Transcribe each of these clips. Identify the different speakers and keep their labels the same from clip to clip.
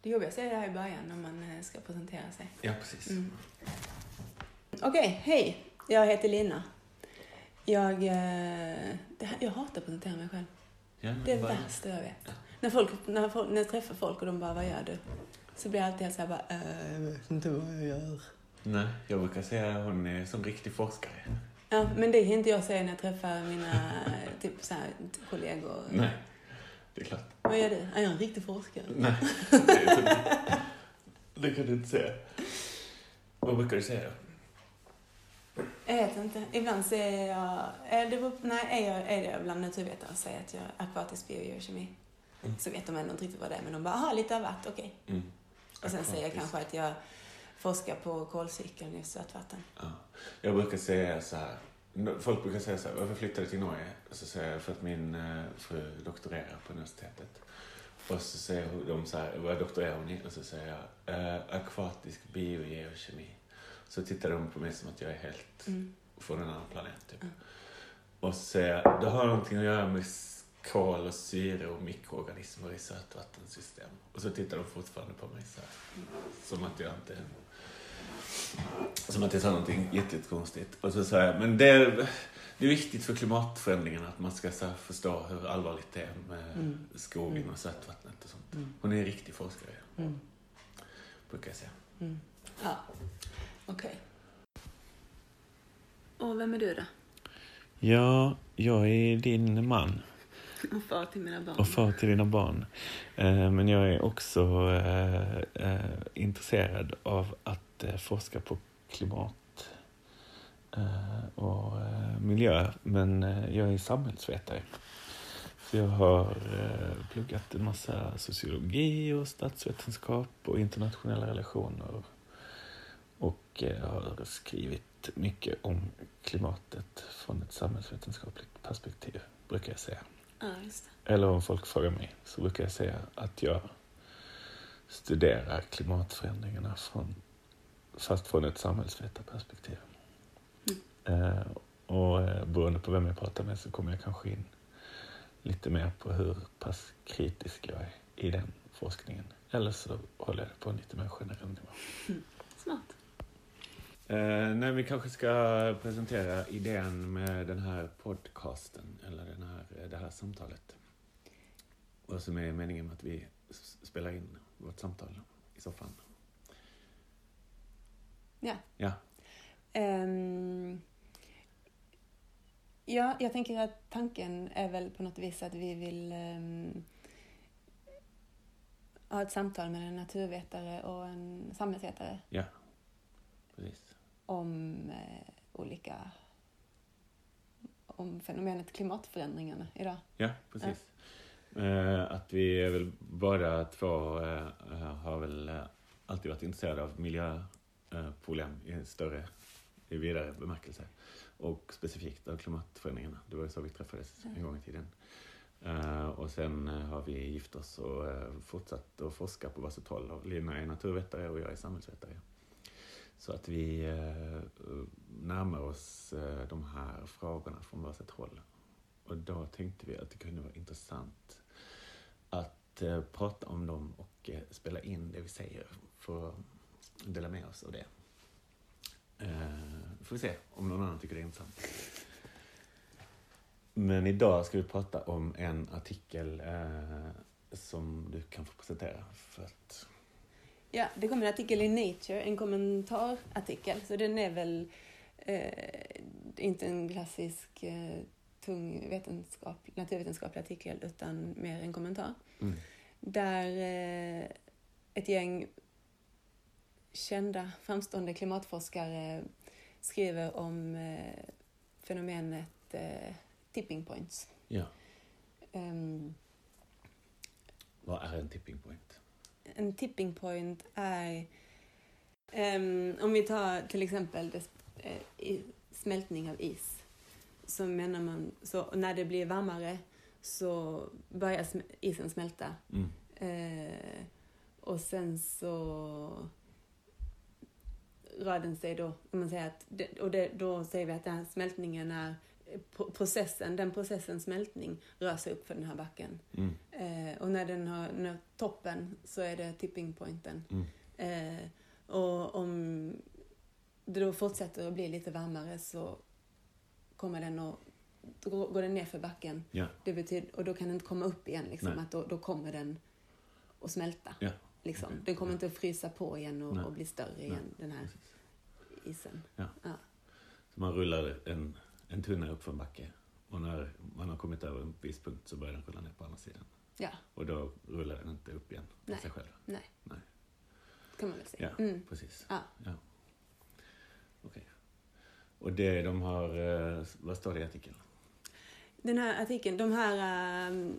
Speaker 1: Det jobbigaste är det här i början när man eh, ska presentera sig.
Speaker 2: Ja, precis.
Speaker 1: Mm. Okej, hej! Jag heter Lina. Jag, eh, det här, jag hatar att presentera mig själv.
Speaker 2: Ja, men
Speaker 1: Det är det
Speaker 2: bara-
Speaker 1: värsta jag vet.
Speaker 2: Ja.
Speaker 1: När, folk, när, folk, när jag träffar folk och de bara, vad gör du? Så blir jag alltid helt så här bara, "Eh, jag vet inte vad jag gör.
Speaker 2: Nej, jag brukar säga att hon är som riktig forskare.
Speaker 1: Ja, men det är inte jag säger när jag träffar mina typ, så här, kollegor.
Speaker 2: Nej, det är klart.
Speaker 1: Vad gör du? "Ja, Jag är en riktig forskare.
Speaker 2: Nej, det, är typ, det kan du inte säga. Vad brukar du säga?
Speaker 1: Jag vet inte. Ibland säger jag... eh, Det beror, nej, är jag, är jag bland naturvetare och säger att jag är akvatisk biogeokemi.
Speaker 2: Mm.
Speaker 1: Så vet de ändå inte riktigt vad det är, men de bara, aha, lite av vatten, okej.
Speaker 2: Mm.
Speaker 1: Och sen säger jag
Speaker 2: Akvatisk.
Speaker 1: kanske att jag forskar på kolcykeln i sötvatten.
Speaker 2: Ja. Jag brukar säga så här. Folk brukar säga så här, varför flyttade du till Norge? Och så säger jag, för att min eh, fru doktorerar på universitetet. Och så säger hon- de så här, vad doktorerar hon i? Och så säger jag, eh, akvatisk biogeokemi. Så tittar de på mig som att jag är helt
Speaker 1: Mm.
Speaker 2: från en annan planet. Typ.
Speaker 1: Mm.
Speaker 2: Och så säger jag, det har någonting att göra med kol och syre och mikroorganismer i sötvattensystem. Och så tittar de fortfarande på mig så här. Som att jag inte... Som att jag sa någonting jättekonstigt. Och så sa jag, men det, det är viktigt för klimatförändringarna att man ska så här, förstå hur allvarligt det är med
Speaker 1: Mm.
Speaker 2: skogen
Speaker 1: Mm.
Speaker 2: och sötvattnet och sånt.
Speaker 1: Mm.
Speaker 2: Hon är en riktig forskare,
Speaker 1: Mm.
Speaker 2: brukar jag säga.
Speaker 1: Mm. Ja, okej. Och vem är du då?
Speaker 2: Ja, jag är din man.
Speaker 1: Och far till mina barn.
Speaker 2: och far till dina barn. Eh, Men jag är också eh, eh, intresserad av att eh, forska på klimat eh, och eh, miljö. Men eh, jag är samhällsvetare. Så jag har eh, pluggat en massa sociologi och statsvetenskap och internationella relationer. Och eh, har skrivit mycket om klimatet från ett samhällsvetenskapligt perspektiv, brukar jag säga.
Speaker 1: Ja, just det.
Speaker 2: Eller om folk frågar mig så brukar jag säga att jag studerar klimatförändringarna från, fast från ett samhällsvetarperspektiv. Eh, och eh, beroende på vem jag pratar med så kommer jag kanske in lite mer på hur pass kritisk jag är i den forskningen. Eller så håller jag det på en lite mer generell nivå.
Speaker 1: Smart.
Speaker 2: Eh, nej, vi kanske ska presentera idén med den här podcasten, eller den här, eh, det här samtalet. Vad som är meningen med att vi s- spelar in vårt samtal i soffan.
Speaker 1: Ja.
Speaker 2: Ja.
Speaker 1: Ehm, ja, jag tänker att tanken är väl på något vis att vi vill ehm, ha ett samtal med en naturvetare och en samhällsvetare
Speaker 2: Ja, precis.
Speaker 1: om eh, olika om fenomenet klimatförändringarna idag.
Speaker 2: Ja, precis. Eh, att vi är väl båda två eh, eh, har väl eh, alltid varit intresserade av miljöproblem i en större, i vidare bemärkelse. Och specifikt av klimatförändringarna. Det var ju så vi träffades
Speaker 1: Mm.
Speaker 2: en gång i tiden. Eh, och sen eh, har vi gift oss och eh, fortsatt att forska på varsitt håll. Och Lina är naturvetare och jag är samhällsvetare. Så att vi eh, närmar oss eh, de här frågorna från varsitt håll. Och då tänkte vi att det kunde vara intressant att eh, prata om dem och eh, spela in det vi säger för att dela med oss av det. Eh, får vi se om någon annan tycker det är intressant. Men idag ska vi prata om en artikel eh, som du kan få presentera. För att,
Speaker 1: Ja, det kom en artikel i Nature, en kommentarartikel, så den är väl eh, inte en klassisk eh, tung vetenskap, naturvetenskaplig artikel utan mer en kommentar.
Speaker 2: mm,
Speaker 1: Där eh, ett gäng kända framstående klimatforskare skriver om eh, fenomenet eh, tipping points.
Speaker 2: ja,
Speaker 1: Ehm,
Speaker 2: vad är en tipping point?
Speaker 1: en tipping point är... ehm, om vi tar till exempel det, eh, i- smältning av is. Så menar man, så när det blir varmare så börjar sm- isen smälta.
Speaker 2: Mm,
Speaker 1: Eh, och sen så rör den sig då, om man säger att, det- och det, då säger vi att den här smältningen är pro- processen, den processens smältning rör sig upp för den här backen.
Speaker 2: Mm.
Speaker 1: Eh, och när den har nått toppen så är det tipping pointen.
Speaker 2: Mm.
Speaker 1: Eh, och om det då fortsätter att bli lite varmare så kommer den att då går den ner för backen.
Speaker 2: Ja.
Speaker 1: Det betyder, och då kan den inte komma upp igen. Liksom,
Speaker 2: Nej.
Speaker 1: att då, då kommer den att smälta.
Speaker 2: Ja.
Speaker 1: Liksom.
Speaker 2: Okej.
Speaker 1: Den kommer
Speaker 2: Ja.
Speaker 1: inte att frysa på igen
Speaker 2: Nej.
Speaker 1: och, och bli större igen, den här isen.
Speaker 2: Så man rullar en, en tunna upp för en backe. Och när man har kommit över en viss punkt så börjar den rulla ner på andra sidan.
Speaker 1: Ja.
Speaker 2: Och då rullar den inte upp igen av
Speaker 1: Nej.
Speaker 2: sig själv.
Speaker 1: Kan man väl säga.
Speaker 2: Ja.
Speaker 1: Mm.
Speaker 2: Precis.
Speaker 1: Ja.
Speaker 2: ja. Okej. Och det de har, eh, vad står det i artikeln?
Speaker 1: Den här artikeln, de här... ehm,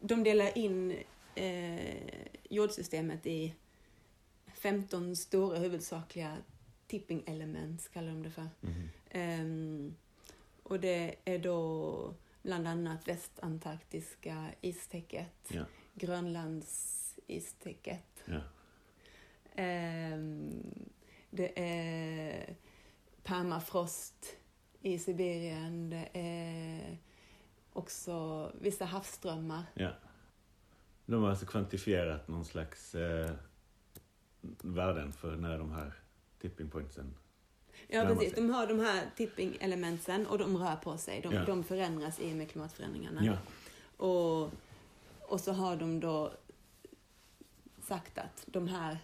Speaker 1: De delar in eh, jordsystemet i 15 stora huvudsakliga tipping elements, kallar de det för.
Speaker 2: Mhm.
Speaker 1: Ehm, och det är då bland annat västantarktiska istäcket,
Speaker 2: Ja.
Speaker 1: Grönlands istäcket.
Speaker 2: Ja.
Speaker 1: Ehm, det är permafrost i Sibirien. Det är också vissa havsströmmar.
Speaker 2: ja. De har alltså kvantifierat någon slags eh, värden för när de här tipping pointsen...
Speaker 1: Ja,
Speaker 2: Närmar
Speaker 1: precis.
Speaker 2: sig.
Speaker 1: De har de här tipping-elementsen och de rör på sig. De,
Speaker 2: Ja.
Speaker 1: de förändras i och med klimatförändringarna.
Speaker 2: Ja.
Speaker 1: Och, och så har de då sagt att de här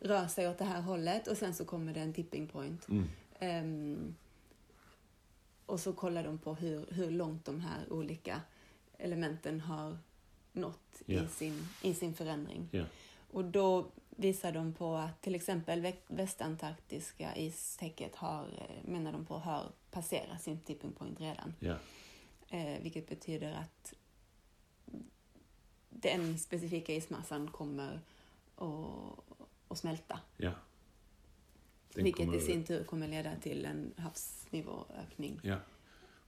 Speaker 1: rör sig åt det här hållet och sen så kommer det en tipping point.
Speaker 2: Mm.
Speaker 1: Ehm, och så kollar de på hur, hur långt de här olika elementen har nått
Speaker 2: Ja.
Speaker 1: i, sin, i sin förändring.
Speaker 2: Ja.
Speaker 1: Och då visar de på att till exempel vä- västantarktiska istäcket har, eh, menar de på, har passerat sin tipping point redan.
Speaker 2: Ja.
Speaker 1: Eh, vilket betyder att den specifika ismassan kommer att, att smälta.
Speaker 2: ja. Den
Speaker 1: vilket
Speaker 2: kommer-
Speaker 1: i sin tur kommer leda till en havsnivåökning.
Speaker 2: Ja,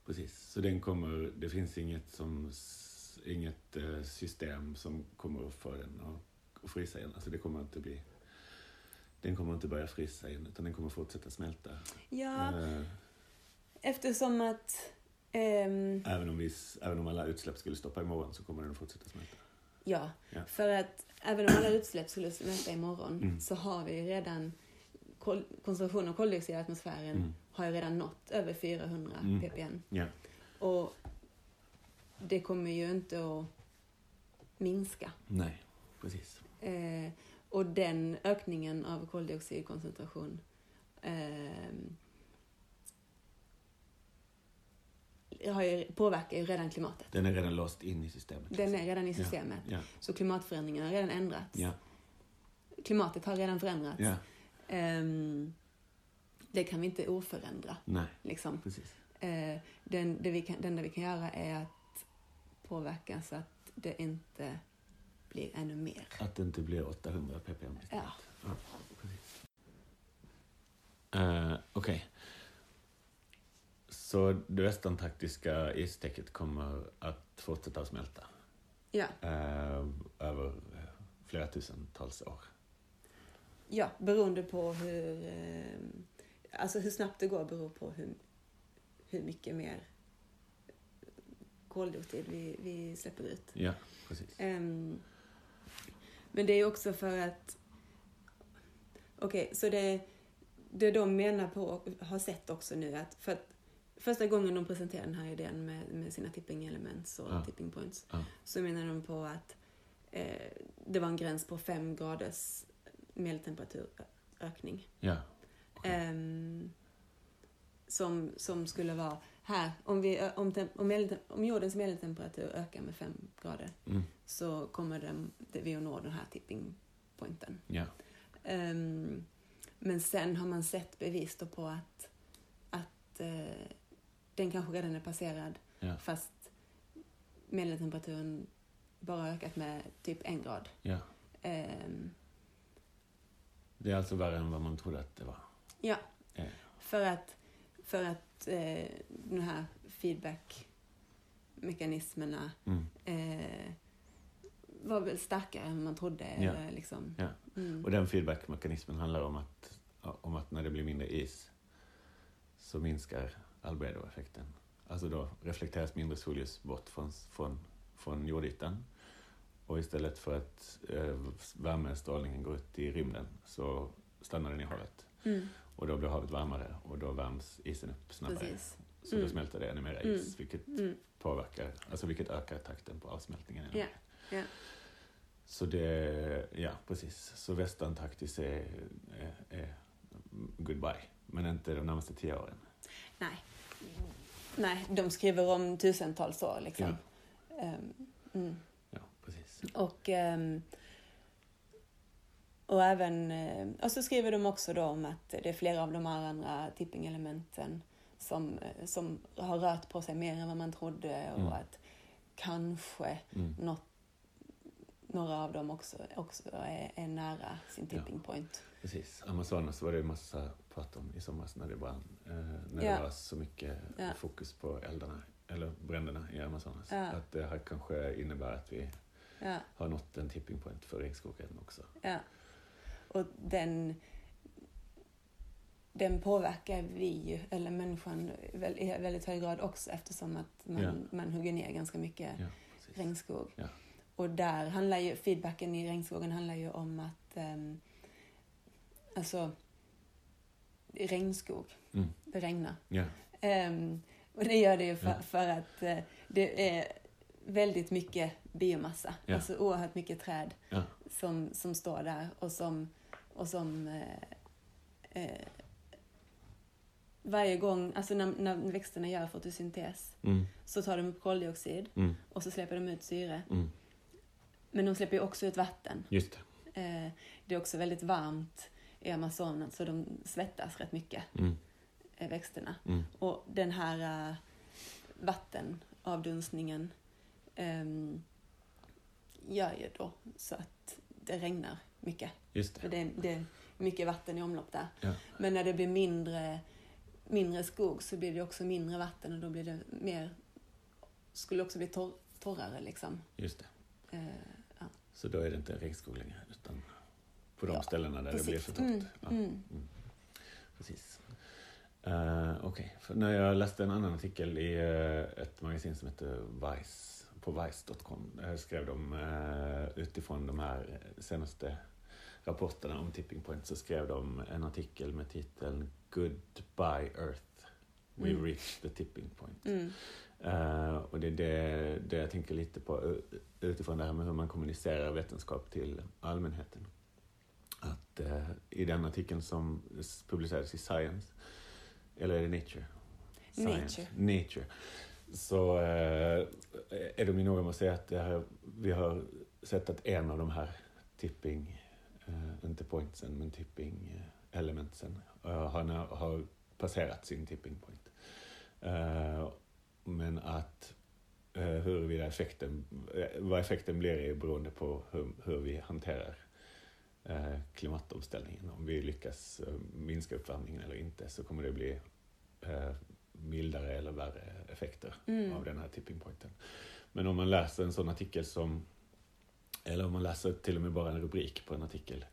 Speaker 2: precis. Så den kommer, det finns inget, som, s- inget eh, system som kommer att få den att- att frysa igen. Alltså det kommer inte bli, den kommer inte börja frysa igen utan den kommer fortsätta smälta.
Speaker 1: Ja,
Speaker 2: Eh,
Speaker 1: eftersom att... ehm,
Speaker 2: Även, om vi, s- även om alla utsläpp skulle stoppa imorgon så kommer den att fortsätta smälta.
Speaker 1: ja,
Speaker 2: Ja.
Speaker 1: för att även om alla utsläpp skulle smälta imorgon
Speaker 2: Mm.
Speaker 1: så har vi ju redan... Kol- koncentrationen av koldioxid i atmosfären
Speaker 2: Mm.
Speaker 1: har ju redan nått över 400
Speaker 2: Mm.
Speaker 1: ppm.
Speaker 2: Ja.
Speaker 1: Och det kommer ju inte att minska.
Speaker 2: Nej, precis.
Speaker 1: Eh, och den ökningen av koldioxidkoncentration ehm, har ju, påverkar ju redan klimatet.
Speaker 2: Den är redan låst in i systemet.
Speaker 1: Den är
Speaker 2: liksom.
Speaker 1: redan i systemet.
Speaker 2: Ja,
Speaker 1: Så klimatförändringen har redan ändrats.
Speaker 2: ja,
Speaker 1: Klimatet har redan förändrats.
Speaker 2: ja.
Speaker 1: Ehm, det kan vi inte oförändra.
Speaker 2: Nej,
Speaker 1: Liksom.
Speaker 2: precis.
Speaker 1: Eh, den, det, vi kan, det enda vi kan göra är att påverka så att det inte blir ännu mer.
Speaker 2: Att det inte blir 800 ppm istället.
Speaker 1: Ja.
Speaker 2: precis. Eh, Okej. Så det västantarktiska istäcket kommer att fortsätta att smälta
Speaker 1: Ja,
Speaker 2: eh, över eh, flera tusentals år?
Speaker 1: ja beroende på hur... Eh, alltså hur snabbt det går beror på hur, hur mycket mer koldioxid vi, vi släpper ut.
Speaker 2: Ja, precis.
Speaker 1: Ehm, men det är också för att... Okej, så det, det de menar på och har sett också nu att, för att första gången de presenterade den här idén med, med sina tipping elements och
Speaker 2: Ja.
Speaker 1: tipping points
Speaker 2: Ja.
Speaker 1: så menar de på att eh, det var en gräns på fem graders medeltemperaturökning.
Speaker 2: Ja. Okej.
Speaker 1: Ehm, som, som skulle vara här, om, vi, ö- om, tem- om, medeltem- om jordens medeltemperatur ökar med fem grader
Speaker 2: Mm.
Speaker 1: så kommer den, det, vi att nå den här tipping pointen.
Speaker 2: Ja.
Speaker 1: Ehm, men sen har man sett bevis då på att, att eh, den kanske redan är passerad
Speaker 2: Ja.
Speaker 1: fast medeltemperaturen bara ökat med typ en grad.
Speaker 2: ja.
Speaker 1: Ehm,
Speaker 2: Det är alltså värre än vad man trodde att det var.
Speaker 1: För att, för att eh, de här feedback-mekanismerna
Speaker 2: Mm.
Speaker 1: eh, var väl starkare än man trodde.
Speaker 2: Ja.
Speaker 1: Eller liksom.
Speaker 2: Ja.
Speaker 1: Mm.
Speaker 2: Och den feedbackmekanismen handlar om att, om att när det blir mindre is så minskar albedoeffekten. Alltså då reflekteras mindre solljus bort från, från, från jordytan och istället för att eh, värmestrålningen går ut i rymden så stannar den i havet.
Speaker 1: Mm.
Speaker 2: Och då blir havet varmare och då värms isen upp snabbare.
Speaker 1: Precis.
Speaker 2: Så då
Speaker 1: Mm.
Speaker 2: smälter det ännu mer is,
Speaker 1: Mm.
Speaker 2: vilket
Speaker 1: Mm.
Speaker 2: påverkar, alltså vilket ökar takten på avsmältningen. ännu
Speaker 1: Ja,
Speaker 2: mer.
Speaker 1: ja.
Speaker 2: Så det, ja precis. Så Västantarktis är, är, är goodbye, men inte de närmaste tio åren.
Speaker 1: Nej. Nej, de skriver om tusentals år liksom. Ehm, mm.
Speaker 2: Ja, precis.
Speaker 1: Och, ehm, och även, eh, och så skriver de också då om att det är flera av de här andra tippingelementen som, eh, som har rört på sig mer än vad man trodde och
Speaker 2: Mm.
Speaker 1: att kanske
Speaker 2: Mm.
Speaker 1: något, några av dem också, också är, är nära sin
Speaker 2: Ja.
Speaker 1: tipping point.
Speaker 2: Precis. Amazonas var det ju massa prat om i somras när det brann. Eh, när
Speaker 1: Ja.
Speaker 2: det var så mycket
Speaker 1: Ja.
Speaker 2: fokus på eldarna, eller bränderna i Amazonas.
Speaker 1: Ja.
Speaker 2: Att det här kanske innebär att vi
Speaker 1: Ja,
Speaker 2: har nått en tipping point för regnskogen också.
Speaker 1: ja. Och den, den påverkar vi ju, eller människan, väl- i väldigt hög grad också eftersom att man,
Speaker 2: Ja.
Speaker 1: man hugger ner ganska mycket
Speaker 2: Ja, precis.
Speaker 1: regnskog.
Speaker 2: Ja.
Speaker 1: Och där handlar ju feedbacken i regnskogen handlar ju om att ehm, alltså regnskog,
Speaker 2: Mm.
Speaker 1: det regnar.
Speaker 2: Ja,
Speaker 1: Ehm, och det gör det ju för,
Speaker 2: Ja.
Speaker 1: för att eh, det är väldigt mycket biomassa,
Speaker 2: Ja.
Speaker 1: alltså oerhört mycket träd
Speaker 2: Ja.
Speaker 1: som, som står där och som, och som eh, eh, varje gång, alltså när, när växterna gör fotosyntes
Speaker 2: mm,
Speaker 1: så tar de upp koldioxid
Speaker 2: mm,
Speaker 1: och så släpper de ut syre.
Speaker 2: mm.
Speaker 1: Men de släpper ju också ut vatten.
Speaker 2: just det.
Speaker 1: Eh, det är också väldigt varmt i Amazonas så de svettas rätt mycket,
Speaker 2: Mm,
Speaker 1: eh, växterna.
Speaker 2: mm,
Speaker 1: Och den här eh, vattenavdunstningen ehm, gör ju då så att det regnar mycket.
Speaker 2: just
Speaker 1: För
Speaker 2: det.
Speaker 1: det är, det är mycket vatten i omlopp där.
Speaker 2: Ja.
Speaker 1: Men när det blir mindre, mindre skog så blir det också mindre vatten och då blir det mer, skulle också bli torr, torrare liksom.
Speaker 2: Just det.
Speaker 1: Eh,
Speaker 2: Så då är det inte regnskog längre, utan på de
Speaker 1: Ja,
Speaker 2: ställena där det blir för torrt.
Speaker 1: Mm,
Speaker 2: Ja.
Speaker 1: mm.
Speaker 2: Precis. Eh, Okej, För när jag läste en annan artikel i eh, ett magasin som heter Vice, på vice.com, där skrev de eh, utifrån de här senaste rapporterna om tipping point, så skrev de en artikel med titeln Goodbye Earth, We
Speaker 1: Mm.
Speaker 2: reached the tipping point.
Speaker 1: Mm.
Speaker 2: Eh, och det är det, det jag tänker lite på u- utifrån det här med hur man kommunicerar vetenskap till allmänheten. Att eh, i den artikeln som s- publicerades i Science, eller är det Nature? Nature. Nature. Så eh, är de ju noga med att säga att det här, vi har sett att en av de här tipping, eh, inte pointsen, men tipping eh, elementsen, eh, har, nä- har passerat sin tipping point. Eh, men att eh, huruvida effekten, eh, vad effekten blir är beroende på hur, hur vi hanterar eh, klimatomställningen. Om vi lyckas eh, minska uppvärmningen eller inte så kommer det bli eh, mildare eller värre effekter av
Speaker 1: Mm.
Speaker 2: den här tipping pointen. Men om man läser en sån artikel som, eller om man läser till och med bara en rubrik på en artikel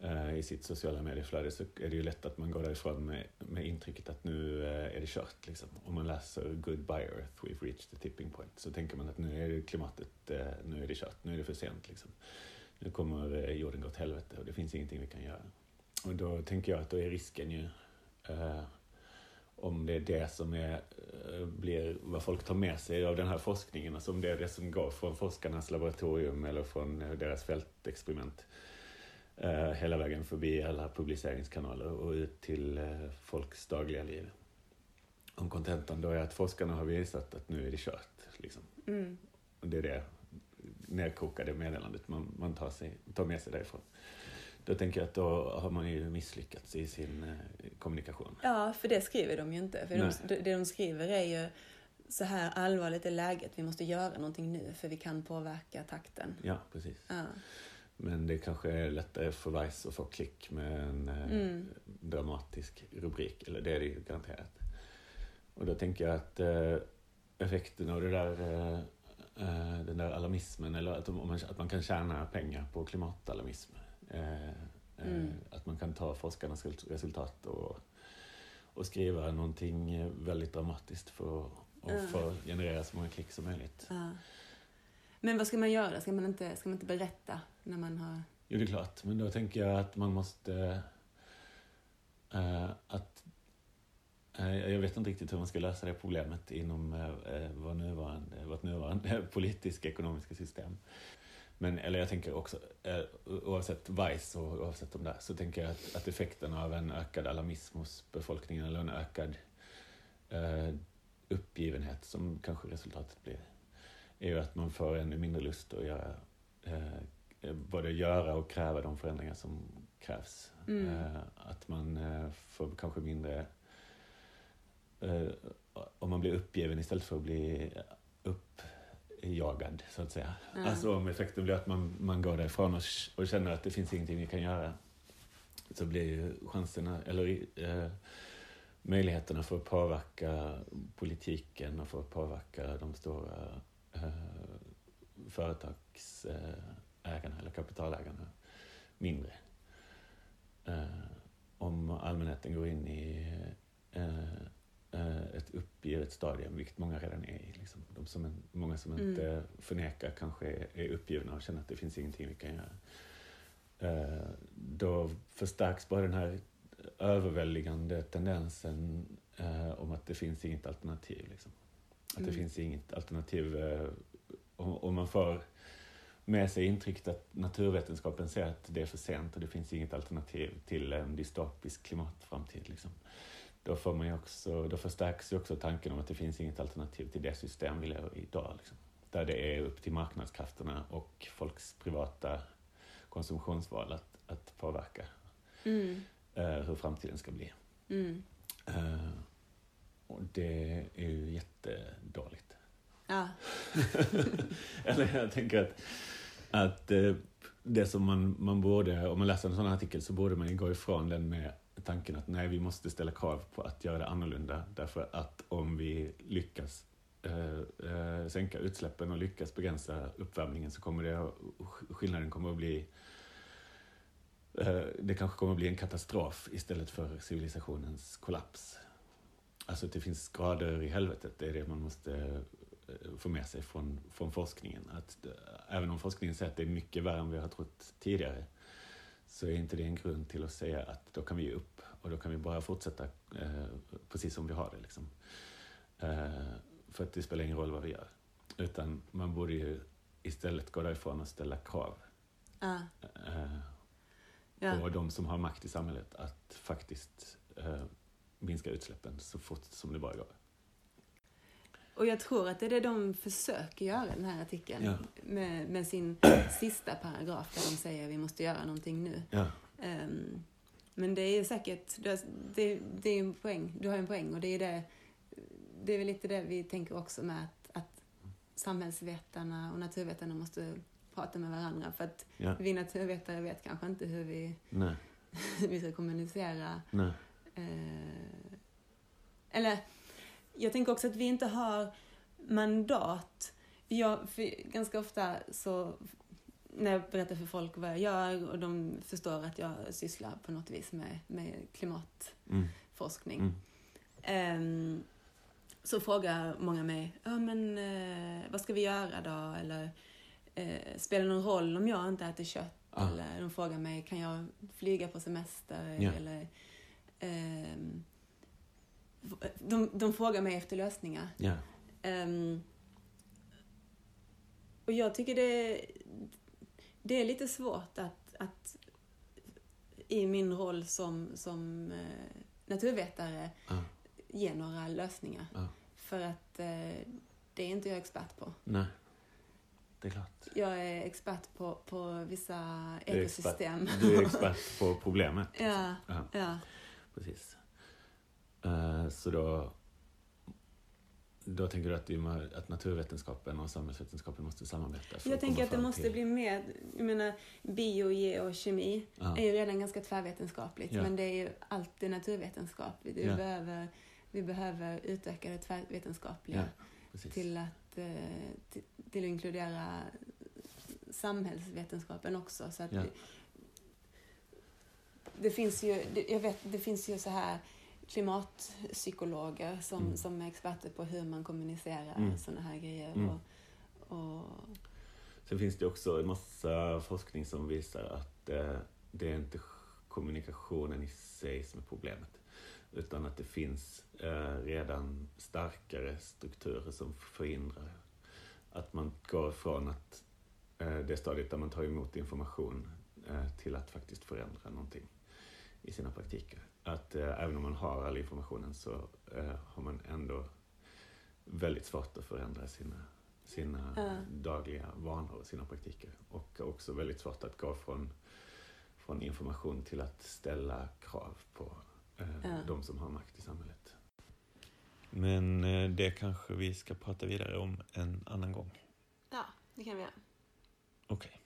Speaker 2: eh, i sitt sociala medieflöde så är det ju lätt att man går därifrån med, med intrycket att nu eh, är det kört. Liksom. Om man läser Goodbye Earth, We've reached the tipping point så tänker man att nu är det klimatet, eh, nu är det kört, nu är det för sent. Liksom. Nu kommer eh, jorden gå åt helvete och det finns ingenting vi kan göra. Och då tänker jag att då är risken ju eh, om det är det som är, eh, blir vad folk tar med sig av den här forskningen. Alltså om det är det som går från forskarnas laboratorium eller från eh, deras fältexperiment eh, hela vägen förbi alla publiceringskanaler och ut till eh, folks dagliga liv. Om kontentan då är att forskarna har visat att nu är det kört. Liksom.
Speaker 1: Mm.
Speaker 2: Och det är det nerkokade meddelandet man, man tar, sig, tar med sig därifrån. Då tänker jag att då har man ju misslyckats i sin eh, kommunikation.
Speaker 1: Ja, för det skriver de ju inte. För
Speaker 2: Nej.
Speaker 1: de, det de skriver är ju så här allvarligt är läget, vi måste göra någonting nu för vi kan påverka takten.
Speaker 2: Ja, precis.
Speaker 1: Ja.
Speaker 2: Men det kanske är lättare för Vice att få klick med en eh,
Speaker 1: Mm.
Speaker 2: dramatisk rubrik, eller det är det ju garanterat. Och då tänker jag att eh, effekten av det där, eh, eh, den där alarmismen, eller att, om man, att man kan tjäna pengar på klimatalarmism. Eh, eh,
Speaker 1: Mm.
Speaker 2: Att man kan ta forskarnas resultat och, och skriva någonting eh, väldigt dramatiskt för att och
Speaker 1: Mm.
Speaker 2: för att generera så många klick som möjligt.
Speaker 1: Ja. Men vad ska man göra? Ska man inte, ska man inte berätta när man har...
Speaker 2: Jo, det är klart. Men då tänker jag att man måste... eh, att, eh, jag vet inte riktigt hur man ska lösa det problemet inom eh, eh, vår nuvarande, vårt nuvarande politiska ekonomiska system. Men, eller jag tänker också, eh, oavsett Vice och oavsett de där, så tänker jag att, att effekten av en ökad alarmism hos befolkningen eller en ökad eh, uppgivenhet, som kanske resultatet blir, är ju att man får ännu mindre lust att göra eh, eh, både göra och kräva de förändringar som krävs.
Speaker 1: Mm.
Speaker 2: Eh, att man eh, får kanske mindre... Eh, om man blir uppgiven istället för att bli uppjagad, så att säga.
Speaker 1: Ja.
Speaker 2: Alltså om effekten blir att man, man går därifrån och, sh- och känner att det finns ingenting vi kan göra så blir ju chanserna, eller eh, möjligheterna för att påverka politiken och för att påverka de stora eh, företagsägarna eh, ägarna eller kapitalägarna mindre. Eh, om allmänheten går in i eh, eh, ett uppgivet stadium, vilket många redan är i. Liksom. De som en, många som
Speaker 1: Mm.
Speaker 2: inte förnekar kanske är uppgivna och känner att det finns ingenting vi kan göra. Eh, då förstärks bara den här överväldigande tendensen eh, om att det finns inget alternativ. Liksom. Att det
Speaker 1: Mm.
Speaker 2: finns inget alternativ. Eh, om, om man får med sig intrycket att naturvetenskapen säger att det är för sent och det finns inget alternativ till en dystopisk klimatframtid. Liksom. Då, får man ju också, då förstärks ju också tanken om att det finns inget alternativ till det system vi lever i idag. Liksom. Där det är upp till marknadskrafterna och folks privata konsumtionsval att, att påverka
Speaker 1: Mm,
Speaker 2: eh, hur framtiden ska bli.
Speaker 1: mm.
Speaker 2: Eh, och det är ju jättedåligt.
Speaker 1: Ja,
Speaker 2: Eller jag tänker att, att eh, det som man, man borde, om man läser en sån här artikel så borde man ju gå ifrån den med tanken att nej, vi måste ställa krav på att göra det annorlunda därför att om vi lyckas eh, eh, sänka utsläppen och lyckas begränsa uppvärmningen så kommer det, skillnaden kommer att bli eh, det kanske kommer att bli en katastrof istället för civilisationens kollaps. Alltså att det finns grader i helvetet, det är det man måste eh, få med sig från, från forskningen. Att, eh, även om forskningen säger att det är mycket värre än vi har trott tidigare så är inte det en grund till att säga att då kan vi ge upp och då kan vi bara fortsätta eh, precis som vi har det. Liksom. Eh, för att det spelar ingen roll vad vi gör. Utan man borde ju istället gå därifrån och ställa krav
Speaker 1: ja,
Speaker 2: eh,
Speaker 1: ja.
Speaker 2: på de som har makt i samhället att faktiskt eh, minska utsläppen så fort som det bara går.
Speaker 1: Och jag tror att det är det de försöker göra i den här artikeln.
Speaker 2: Ja.
Speaker 1: Med, med sin sista paragraf där de säger vi måste göra någonting nu.
Speaker 2: Ja.
Speaker 1: Ehm, men det är säkert, det, det, det är en poäng, du har en poäng och det är det, det är väl lite det vi tänker också med att, att samhällsvetarna och naturvetarna måste prata med varandra för att
Speaker 2: Ja.
Speaker 1: vi naturvetare vet kanske inte hur vi,
Speaker 2: Nej.
Speaker 1: hur vi ska kommunicera.
Speaker 2: Nej.
Speaker 1: Eh, eller, jag tänker också att vi inte har mandat. Jag, för ganska ofta så, när jag berättar för folk vad jag gör och de förstår att jag sysslar på något vis med, med klimatforskning.
Speaker 2: Mm. Mm.
Speaker 1: Ehm, så frågar många mig, ja men eh, vad ska vi göra då? Eller eh, spelar det någon roll om jag inte äter kött?
Speaker 2: Ah.
Speaker 1: Eller de frågar mig, kan jag flyga på semester?
Speaker 2: Ja.
Speaker 1: Eller, ehm, de, de frågar mig efter lösningar.
Speaker 2: Ja.
Speaker 1: Ehm, och jag tycker det, det är lite svårt att, att i min roll som, som eh, naturvetare
Speaker 2: Ja.
Speaker 1: ge några lösningar.
Speaker 2: Ja.
Speaker 1: För att eh, det är inte jag expert på.
Speaker 2: Nej. Det är klart.
Speaker 1: Jag är expert på, på vissa
Speaker 2: Du är expert.
Speaker 1: ekosystem.
Speaker 2: Du är expert på problemet.
Speaker 1: ja,
Speaker 2: Ja,
Speaker 1: ja,
Speaker 2: precis. Eh, så då... Då tänker du att, det är ma- att naturvetenskapen och samhällsvetenskapen måste samarbeta? För
Speaker 1: Jag tänker
Speaker 2: komma
Speaker 1: att det
Speaker 2: fram
Speaker 1: måste
Speaker 2: till-
Speaker 1: bli mer, jag menar bio, geokemi
Speaker 2: Ja.
Speaker 1: är ju redan ganska tvärvetenskapligt
Speaker 2: Ja.
Speaker 1: men det är ju alltid naturvetenskapligt. Vi,
Speaker 2: Ja.
Speaker 1: behöver, vi behöver utöka det tvärvetenskapliga
Speaker 2: Ja, precis.
Speaker 1: till, att, eh, till, till att inkludera samhällsvetenskapen också. Så att
Speaker 2: Ja.
Speaker 1: det, det finns ju, det, jag vet, det finns ju så här klimatpsykologer som,
Speaker 2: Mm.
Speaker 1: som är experter på hur man kommunicerar
Speaker 2: Mm.
Speaker 1: sådana här grejer.
Speaker 2: Mm.
Speaker 1: Och, och,
Speaker 2: Sen finns det också en massa forskning som visar att eh, det är inte kommunikationen i sig som är problemet. Utan att det finns eh, redan starkare strukturer som förhindrar att man går från att eh, det stadiet där man tar emot information eh, till att faktiskt förändra någonting i sina praktiker. Att eh, även om man har all informationen så eh, har man ändå väldigt svårt att förändra sina, sina
Speaker 1: Ja.
Speaker 2: dagliga vanor och sina praktiker. Och också väldigt svårt att gå från, från information till att ställa krav på eh,
Speaker 1: Ja.
Speaker 2: de som har makt i samhället. Men eh, det kanske vi ska prata vidare om en annan gång.
Speaker 1: ja, det kan vi göra.
Speaker 2: Okej.